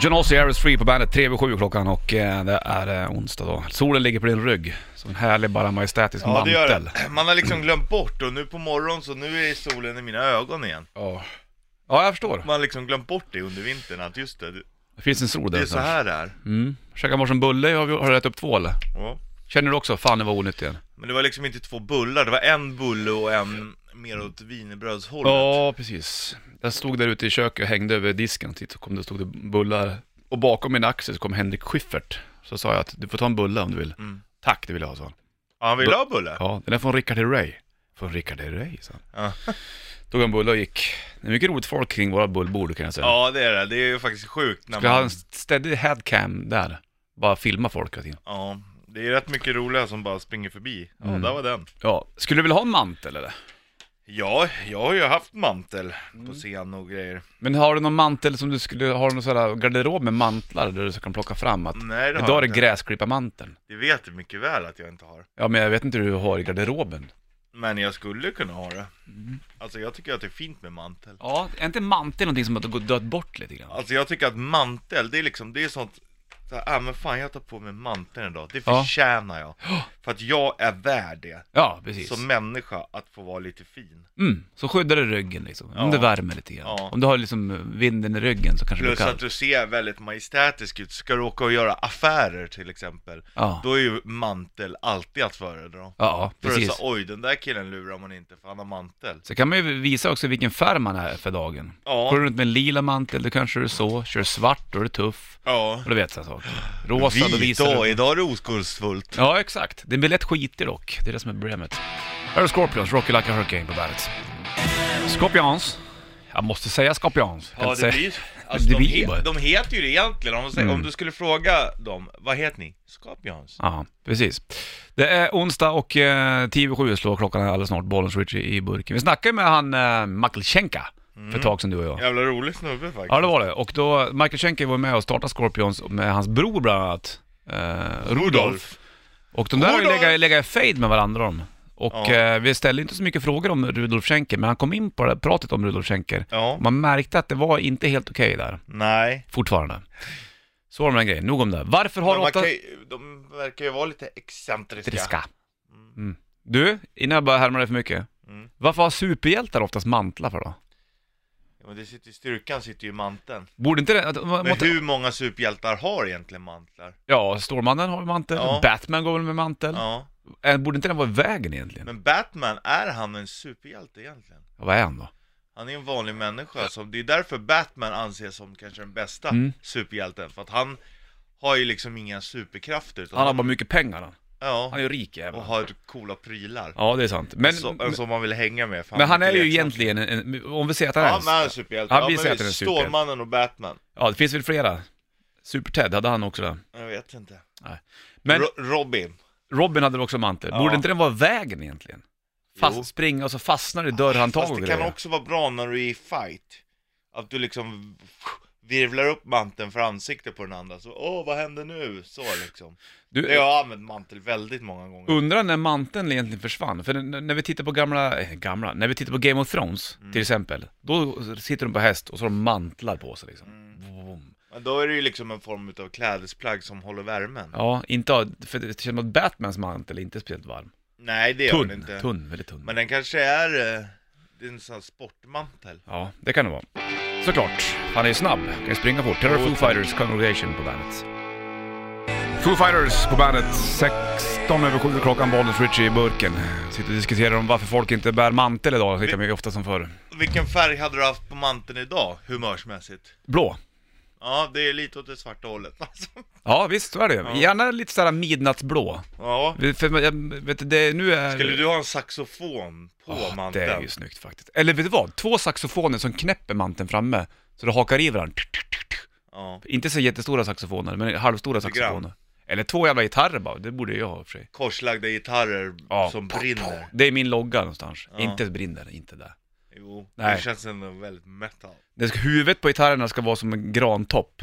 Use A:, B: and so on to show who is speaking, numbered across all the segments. A: John Ossie, Aris Free på bandet, 3 över 7 klockan och eh, det är eh, onsdag då. Solen ligger på din rygg, som en härlig bara majestätisk
B: Ja, det
A: mantel.
B: gör det. Man har liksom glömt bort och nu på morgonen så nu är solen i mina ögon igen.
A: Ja. ja, jag förstår.
B: Man har liksom glömt bort det under vintern, att just det,
A: Det finns en sol där.
B: det är så här det är.
A: Mm. Käka morse en bulle, har, vi, har du ätit upp två eller?
B: Ja.
A: Känner du också, fan det var onyttigt igen?
B: Men det var liksom inte två bullar, det var en bulle och en mer åt wienerbrödshållet.
A: Ja, precis. Jag stod där ute i köket och hängde över disken och tittade, kom det stod det bullar. Och bakom min axel så kom Henrik Schiffert. Så sa jag att du får ta en bulle om du vill.
B: Mm.
A: Tack, det vill jag ha, sa han.
B: Ja, han ville ha bulle?
A: Ja, den är från Rickard Herrey. Från Rickard Herrey, sa han.
B: Ja.
A: Tog en bulle och gick. Det är mycket roligt folk kring våra bullbord kan jag säga.
B: ja, det är det. Det är ju faktiskt sjukt när
A: Skulle ha
B: man...
A: en steady headcam där. Bara filma folk hela tiden.
B: Ja, det är rätt mycket roliga som bara springer förbi. Ja, där var den.
A: Ja, skulle du vilja ha en mantel eller?
B: Ja, jag har ju haft mantel på scen och grejer.
A: Men har du någon mantel som du skulle, har du någon sån här garderob med mantlar där du så kan plocka fram att
B: Nej, det har
A: idag är
B: jag
A: det
B: inte.
A: gräsklipparmanteln?
B: Det vet du mycket väl att jag inte har.
A: Ja men jag vet inte hur du har i garderoben.
B: Men jag skulle kunna ha det.
A: Mm.
B: Alltså jag tycker att det är fint med mantel.
A: Ja, är inte mantel någonting som har gått dött bort lite grann?
B: Alltså jag tycker att mantel, det är liksom, det är sånt så här, ah, men fan jag tar på mig manteln idag, det
A: Ja.
B: förtjänar jag. För att jag är värd det,
A: Ja, precis.
B: som människa, att få vara lite fin.
A: Mm, så skyddar det ryggen liksom, om
B: Ja.
A: det värmer lite grann.
B: Ja.
A: Om du har liksom eh, vinden i ryggen så kanske det
B: Plus
A: blir
B: att
A: kallt.
B: du ser väldigt majestätisk ut, ska du åka och göra affärer till exempel,
A: Ja.
B: då är ju mantel alltid att föredra.
A: Ja,
B: För att
A: precis.
B: säga, oj den där killen lurar man inte för han har mantel.
A: Så kan man ju visa också vilken färg man är för dagen.
B: Ja.
A: Går du runt med en lila mantel, då kanske du är så. Kör svart, då är du tuff.
B: Ja.
A: Och du vet sådana saker. Rosa, då
B: Vit,
A: visar
B: då,
A: du...
B: idag är det oskuldsfullt.
A: Ja, exakt. Den blir lätt skitig dock. Det är det som är problemet. Här är Scorpions, Rocky Like a Hurricane på bandet. Scorpions. Jag måste säga Scorpions. Kan
B: Ja,
A: inte
B: det
A: säga-
B: blir alltså,
A: Det
B: de,
A: blir
B: he,
A: bara- Mm.
B: de heter ju det egentligen, om, de säger, om du skulle fråga dem, vad heter ni? Scorpions?
A: Ja, precis. Det är onsdag och eh, 10 över 7 slår klockan här alldeles snart. Bollens Richie i burken. Vi snackade ju med han eh, Makelchenka för
B: Mm.
A: ett tag sedan du och jag.
B: Jävla rolig snubbe faktiskt.
A: Ja, det var det. Och då, Makelchenka var med och startade Scorpions med hans bror bland annat. Eh, Rudolf. Och de där har ju
B: Rudolf!
A: legat- legat i fade med varandra om. Och
B: Ja.
A: eh, vi ställde inte så mycket frågor om Rudolf Schenker, men han kom in på det, pratet om Rudolf Schenker.
B: Ja,
A: Man märkte att det var inte helt okej där,
B: nej.
A: fortfarande. Så var det med den grejen, nog om det. Varför har
B: Men man
A: åtta...
B: kan, ju- de verkar ju vara lite excentriska.
A: Driska. Mm. Du, innan jag bara härmar dig för mycket.
B: Mm.
A: Varför har superhjältar oftast mantlar för då?
B: Ja, men det sitter, ju- styrkan sitter ju i manteln.
A: Borde inte det... Att,
B: Men hur många superhjältar har egentligen mantlar?
A: Ja, Stålmannen har ju mantel,
B: Ja.
A: Batman går väl med mantel.
B: Ja.
A: Eh, Borde inte den vara i vägen egentligen?
B: Men Batman, är han en superhjälte egentligen?
A: Ja, vad är han då?
B: Han är en vanlig människa, så det är därför Batman anses som kanske den bästa
A: Mm.
B: superhjälten. För att han har ju liksom inga superkrafter. utan
A: Han har bara mycket pengar han.
B: Ja.
A: Han är ju rik
B: och
A: jäveln.
B: har coola prylar.
A: Ja, det är sant. Men,
B: som, som man vill hänga med. för
A: men han är
B: inte
A: ju
B: leksam.
A: egentligen en, en, om vi säger att han
B: Ja, men
A: är
B: han är
A: en,
B: en superhjälte.
A: Han
B: Ja,
A: visar
B: men
A: att han är en superhjälte.
B: Stålmannen och Batman.
A: Ja, det finns väl flera. Super-Ted hade han också där.
B: Jag vet inte.
A: Men
B: Ro- Robin.
A: Robin hade väl också mantel.
B: Ja.
A: Borde inte den vara i vägen egentligen?
B: Jo.
A: Fast, springa och så fastnar det i dörrhandtag
B: Fast
A: och
B: det kan
A: grejer.
B: också vara bra när du är i fight. Att du liksom virvlar upp manteln för ansiktet på den andra. Så, åh, vad händer nu? Så liksom. Det
A: Du, Uh.
B: har jag använt mantel väldigt många gånger.
A: Undrar när manteln egentligen försvann, för när när vi tittar på gamla, eh, gamla, när vi tittar på Game of Thrones
B: Mm.
A: till exempel, då sitter de på häst och så har de mantlar på sig liksom. Vroom.
B: Men då är det ju liksom en form utav klädesplagg som håller värmen.
A: Ja, inte, av- för det känns som att Batmans mantel är inte speciellt varm.
B: Nej, det gör den
A: Tunn,
B: inte.
A: tunn, väldigt tunn.
B: Men den kanske är, eh, det är en sån här sportmantel.
A: Ja, det kan det vara. Såklart. Han är ju snabb, kan ju springa fort. Terror Foo Fighters Congregation på bandet. Foo Fighters på bandet, 16 över 7 klockan, Bollnäs Richie i burken. Sitter och diskuterar om varför folk inte bär mantel idag lika mycket ofta som förr.
B: Vilken färg hade du haft på manteln idag, humörsmässigt?
A: Blå.
B: Ja, det är lite åt det svarta hållet alltså.
A: Ja visst, så är det ju.
B: Ja.
A: Gärna lite sådär midnattsblå.
B: Ja.
A: För jag, vet du, det, nu är...
B: Skulle du ha en saxofon på
A: Åh,
B: manteln?
A: Ah, Det är ju snyggt faktiskt. Eller vet du vad? Två saxofoner som knäpper manteln framme, så det hakar i varandra.
B: Ja.
A: Inte så jättestora saxofoner, men halvstora
B: Lite grann.
A: saxofoner. Eller två jävla gitarrer bara, det borde jag ha i och för sig.
B: Korslagda gitarrer
A: Ja.
B: som brinner.
A: Det är min logga någonstans.
B: Ja.
A: Inte brinner, inte där.
B: Jo,
A: Nej.
B: det känns ändå väldigt metal.
A: Det ska, huvudet på gitarrerna ska vara som en grantopp.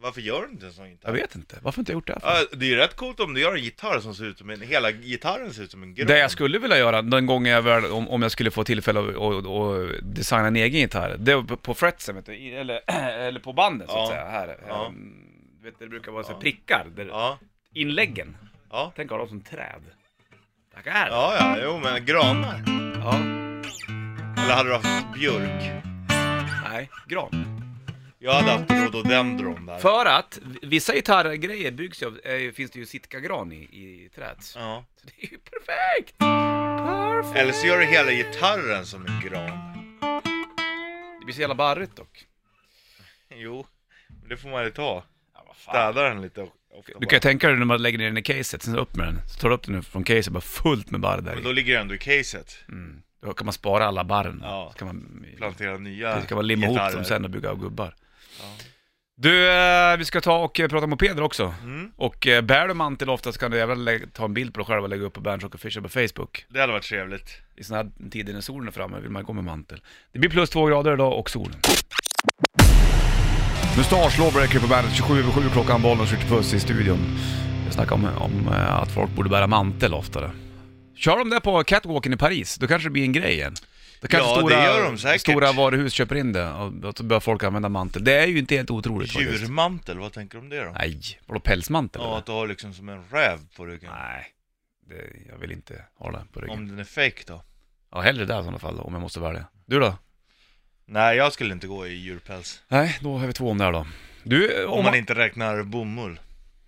B: Varför gör du inte en sån gitarr?
A: Jag vet inte, varför inte jag gjort det här för?
B: Ja, det är ju rätt coolt om du gör en gitarr som ser ut som en, hela gitarren ser ut som en gran.
A: Det jag skulle vilja göra, den gången jag väl, om, om jag skulle få tillfälle att att- att designa en egen gitarr, det är på- på fretsen vet du, i- eller, eller på bandet så att
B: Ja.
A: säga, här.
B: Ja.
A: Ehm, Vet du, det brukar vara så här prickar, där,
B: Ja,
A: inläggen.
B: ja,
A: Tänk att ha dem som träd. Tackar! Ja.
B: ja, ja, jo men granar. Eller hade du haft björk?
A: Nej, gran.
B: Jag hade haft rhododendron där.
A: För att vissa gitarrgrejer byggs ju av, eh, finns det ju sitkagran i, i träet. Så
B: Ja.
A: det är ju perfekt! Perfekt!
B: Eller så gör du hela gitarren som en gran.
A: Det blir så jävla barrigt dock.
B: Jo, men det får man ju ta.
A: Ja, vad fan.
B: Städa den lite o- ofta
A: Du
B: bara.
A: kan ju tänka dig när man lägger ner den i caset, sen så upp med den. Så tar du upp den från caset, bara fullt med barr där
B: Men
A: i.
B: då ligger det ändå i caset.
A: mm. Då kan man spara alla barren.
B: Ja.
A: Så kan man,
B: Plantera nya
A: det kan man limma ihop
B: gitarrer.
A: dem sen och bygga av gubbar.
B: Ja.
A: Du, eh, vi ska ta och eh, prata mopeder också.
B: Mm.
A: Och eh, bär du mantel ofta så kan du även lä- ta en bild på dig själv och lägga upp på Bandrock Official på Facebook.
B: Det hade varit trevligt.
A: I sådana här tider när solen är framme vill man gå med mantel. Det blir plus två grader idag och sol. Mustasch Lawbreaker på bandet 27 över 7 klockan, bollen skjuter puss i studion. Jag snackade om, om eh, att folk borde bära mantel oftare. Kör de det på catwalken i Paris, då kanske det blir en grej igen. Då kanske
B: Ja, det gör de säkert.
A: Stora varuhus köper in det och och så börjar folk använda mantel. Det är ju inte helt otroligt faktiskt.
B: Djurmantel, vad tänker du om det då?
A: Nej, vadå pälsmantel
B: Ja,
A: eller?
B: att du har liksom som en räv på ryggen.
A: Nej, det, jag vill inte ha det på ryggen.
B: Om den är fake då?
A: Ja, hellre det i sådana fall om jag måste välja. Du då?
B: Nej, jag skulle inte gå i djurpäls.
A: Nej, då har vi två om det här då. Du, eh,
B: Om man inte räknar bomull.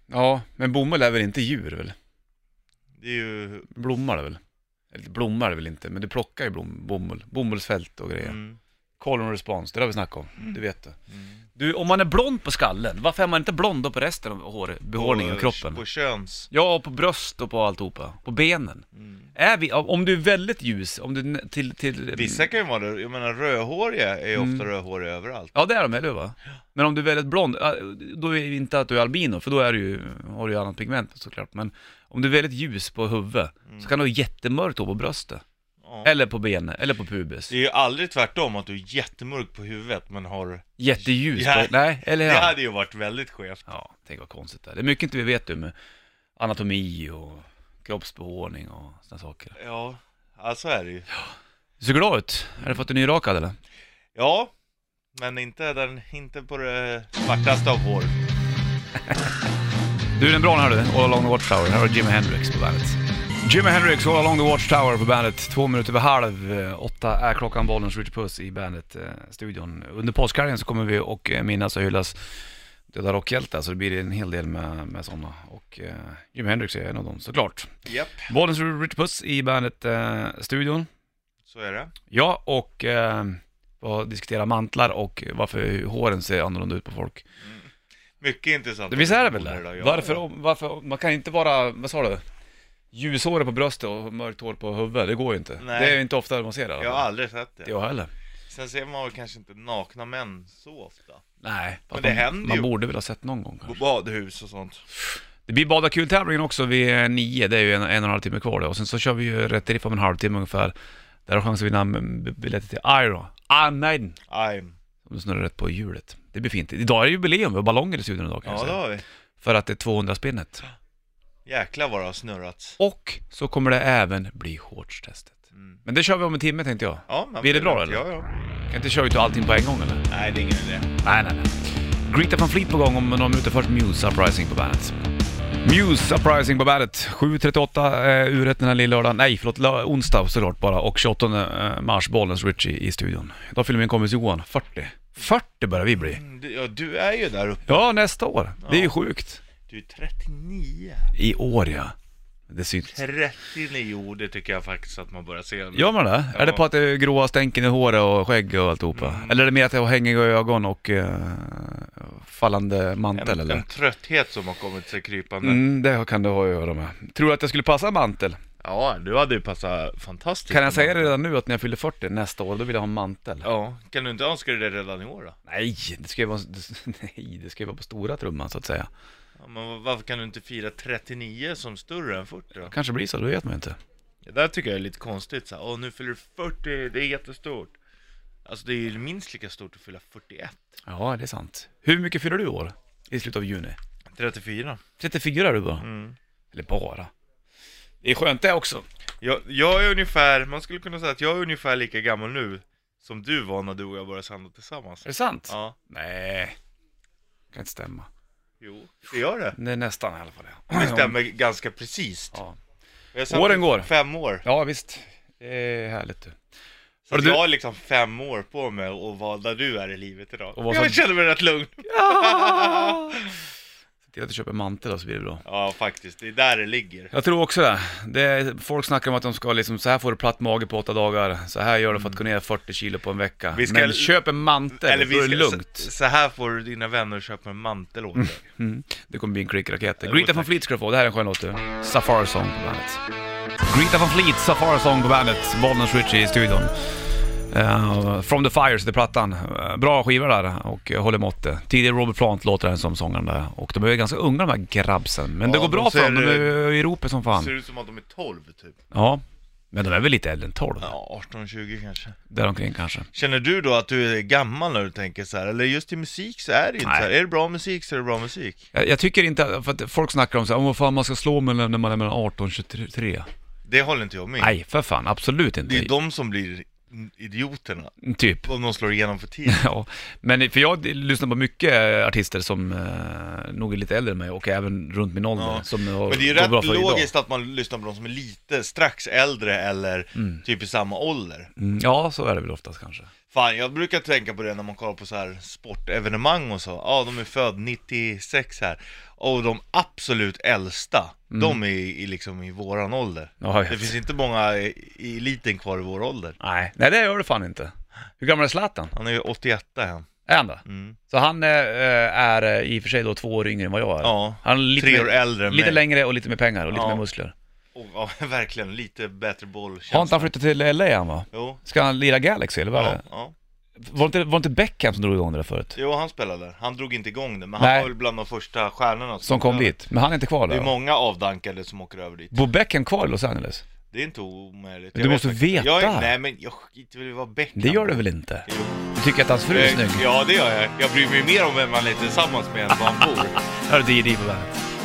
A: Ja, men bomull är väl inte djur väl?
B: Det är ju...
A: Blommar det väl? Eller blommar är det väl inte, men du plockar ju blom, bomull. Bomullsfält och grejer.
B: Mm.
A: Call and response, det har vi snackat om. Det vet du.
B: Mm.
A: Du, om man är blond på skallen, varför är man inte blond då på resten av hår, behårningen och kroppen?
B: På köns.
A: Ja, och på bröst och på alltihopa. På benen.
B: Mm.
A: Är vi, om du är väldigt ljus, om du n- till... till
B: Vissa kan ju vara det. Jag menar rödhåriga är ju
A: Mm.
B: ofta rödhåriga överallt.
A: Ja det är de, eller hur va? Men om du är väldigt blond, eh, då är det inte att du är albino, för då är du ju, har du ju annat pigment såklart. Men om du är väldigt ljus på huvudet, så kan du ha jättemörkt hår på bröstet.
B: Ja.
A: Eller på benen, eller på pubis.
B: Det är ju aldrig tvärtom att du är jättemörk på huvudet men har...
A: Jätteljus
B: Ja.
A: på... Nej, eller
B: Det
A: ja.
B: hade ju varit väldigt skevt.
A: Ja, tänk vad konstigt det är. Det är mycket inte vi vet om anatomi och kroppsbehåring och sådana saker.
B: Ja, ja så är det ju.
A: Du ser glad ut. Är det för att du är nyrakad eller?
B: Ja, men inte, den, inte på det svartaste av hår.
A: Du, den är bra den här du. All along the Watchtower. Här har Jimi Hendrix på bandet. Jimi Hendrix, All along the Watchtower på bandet. Två minuter över halv eh, åtta är klockan. Bollens Richard Puss i bandet-studion. Under påskhelgen så kommer vi och eh, minnas och hyllas döda rockhjältar, så det blir en hel del med, med sådana. Och eh, Jimi Hendrix är en av dem såklart.
B: Japp,
A: Bollens Richard Puss i bandet-studion.
B: så är det.
A: ja, och eh, och diskutera mantlar och varför håren ser annorlunda ut på folk.
B: Mycket intressant.
A: Visst är det väl
B: idag,
A: det?
B: ja, ja.
A: Varför, varför, man kan inte vara, vad sa du? Ljushåret på bröstet och mörkt hår på huvudet, det går ju inte.
B: Nej.
A: Det är ju inte ofta man ser det. i alla
B: Jag har
A: fall.
B: aldrig sett det.
A: Inte Jag heller.
B: Sen ser man väl kanske inte nakna män så ofta.
A: Nej, fast
B: Men det
A: man,
B: händer
A: man
B: ju.
A: borde väl ha sett någon gång
B: På
A: kanske.
B: badhus och sånt.
A: Det blir Bada kul-tävlingen också vid nio, det är ju en, en och en halv timme kvar då. Och sen så kör vi ju Rätt Riff om en halvtimme ungefär. Där har chans att vinna mm, b- biljetter till Iron. Iron Maiden.
B: Aj.
A: Om du snurrar rätt på hjulet. Det blir fint. Idag är det jubileum, vi har ballonger i studion idag kan jag
B: Ja, det
A: säga.
B: har vi.
A: För att det är 200-spinnet.
B: Jäklar vad det har snurrat.
A: Och så kommer det även bli shortstestet.
B: Mm.
A: Men det kör vi om en timme tänkte jag.
B: Ja, men
A: Blir det bra,
B: ja,
A: eller?
B: Ja,
A: Kan inte köra ut allting på en gång eller?
B: Nej, det är ingen idé.
A: Nej, nej, nej. Greta van Fleet på gång om några minuter. Först Muse Uprising på bandet. Muse Uprising på bandet. 7.38 eh, uret den här lilla lördagen. Nej, förlåt. lö- Onsdag såklart bara. Och 28 eh, mars, Bollens Richie i studion. Idag fyller min kompis Johan 40. 40 börjar vi bli.
B: Mm, du- Ja, du är ju där uppe.
A: Ja, nästa år. Det är ju sjukt.
B: Du är 39.
A: I år ja. Det syns.
B: 39, det tycker jag faktiskt att man börjar se.
A: Gör man det?
B: Ja. Mm.
A: Är det på att det är gråa stänken i håret och skägg och alltihopa? Eller är det mer att jag har hängiga ögon och eh, fallande mantel
B: en,
A: eller?
B: en trötthet som har kommit sig krypande.
A: Mm, det kan det ha att göra med. Tror du att jag skulle passa mantel?
B: Ja, du hade ju passat fantastiskt.
A: Kan jag säga det redan nu att när jag fyller 40 nästa år, då vill jag ha en mantel?
B: Ja, kan du inte önska dig det redan i år då?
A: Nej, det ska ju vara, nej, det ska ju vara på stora trumman så att säga.
B: Ja, men varför kan du inte fira 39 som större än 40 då?
A: Kanske blir så, det vet man inte.
B: Det där tycker jag är lite konstigt så här, åh nu fyller du 40, det är jättestort. Alltså det är ju minst lika stort att fylla 41.
A: Ja, det är sant. Hur mycket fyller du i år? i slutet av juni.
B: 34.
A: 34 du bara.
B: Mm.
A: Eller bara. Det är skönt det också.
B: Jag, jag är ungefär, man skulle kunna säga att jag är ungefär lika gammal nu som du var när du och jag började sända tillsammans.
A: Är det sant?
B: Ja,
A: Nej. Kan inte stämma.
B: jo, det gör det.
A: Det är nästan i alla fall det.
B: Det stämmer ganska precis.
A: Liksom. Ja,
B: Jag har sänt
A: Åren
B: i
A: går.
B: Fem år.
A: ja visst. Det är härligt du.
B: Så att
A: Hörru, du-
B: jag har liksom fem år på mig att vara där du är i livet idag.
A: Och vad
B: jag
A: som-
B: känner mig rätt lugn.
A: Se till att du köper mantel då så blir det bra.
B: Ja, faktiskt. Det är där det ligger.
A: Jag tror också det. det är, folk snackar om att de ska liksom, så här får du platt mage på åtta dagar, så här gör du för att gå ner 40 kilo på en vecka.
B: Vi ska-
A: Men köp en mantel, Eller då är det
B: Så,
A: lugnt.
B: så här får du dina vänner köpa en mantel åt dig.
A: Mm. Det kommer bli en klickraket.
B: Jo,
A: Greta
B: tack.
A: van Fleet ska du få, det här är en skön låt du. Safari Song på bandet. Greta van Fleet, Safari Song på bandet, Bollnäs Ritchie i studion. Eh, From the Fires, det är plattan. Eh, Bra skiva där och eh, håller måttet. Tidigare Robert Plant låter den som sångaren där. Och de är ju ganska unga de här grabbsen. Men det
B: Ja,
A: går
B: de
A: bra för
B: ser-
A: dem, de är ju i ropet som fan.
B: Ser ut som att de är 12 typ.
A: Ja, men de är väl lite äldre än 12?
B: Ja, 18-20 kanske.
A: Däromkring kanske.
B: Känner du då att du är gammal när du tänker så här? Eller just i musik så är det ju inte
A: Nej.
B: så här. Är det bra musik så är det bra musik.
A: Jag, jag tycker inte, för att folk snackar om så här, "Åh, vad fan man ska slå med när man är mellan 18 och 23.
B: Det håller inte jag med.
A: Nej, för fan, absolut
B: Det
A: inte.
B: är de som blir idioterna.
A: Typ.
B: Om de slår igenom för tidigt.
A: Ja, men för jag lyssnar på mycket eh, artister som eh, nog är lite äldre än mig och även runt min ålder
B: Ja.
A: som har,
B: Men det är ju
A: går bra
B: rätt
A: för
B: logiskt att man lyssnar på de som är lite strax äldre eller
A: Mm.
B: typ i samma ålder.
A: idag. Mm, ja, så är det väl oftast kanske.
B: Fan, jag brukar tänka på det när man kollar på så här sportevenemang och så. Ja, de är född 96 här. Och de absolut äldsta,
A: Mm.
B: de är i, liksom i våran ålder.
A: Ja, jag vet.
B: Det finns inte många i, i eliten kvar i vår ålder.
A: Nej. Nej, det gör det fan inte. Hur gammal är Zlatan?
B: Han är ju 81 han.
A: Är han det?
B: Mm.
A: Så han eh, är eh, i och för sig då två år yngre än vad jag är.
B: Ja,
A: han är lite,
B: tre
A: mer-
B: år äldre än
A: lite
B: mig.
A: längre och lite mer pengar och lite
B: Ja.
A: mer muskler.
B: Och, ja, verkligen. Lite bättre
A: Har inte
B: bollkänsla.
A: han flyttat till LA han va?
B: Jo.
A: Ska han lira Galaxy eller vad är
B: Ja,
A: det?
B: ja.
A: Var det inte, var det inte Beckham som drog igång det där förut?
B: Jo, han spelade där. Han drog inte igång det, men
A: Nej.
B: han var väl bland de första stjärnorna
A: Som kom
B: spelade.
A: dit, men han är inte kvar
B: Det
A: där
B: är
A: va?
B: många avdankade som åker över dit.
A: Bor Beckham kvar i Los Angeles?
B: Det är inte omöjligt.
A: Men
B: Jag
A: du måste
B: faktiskt inte. Jag,
A: veta.
B: är- nej, men jag skiter väl i vad Beckham
A: Det gör
B: var.
A: det väl inte?
B: Jo.
A: Du tycker att hans fru
B: Eh,
A: är snygg?
B: Ja, det gör jag. Jag bryr mig mer om vem man är tillsammans med än var han bor.
A: Hör du, det är på bandet.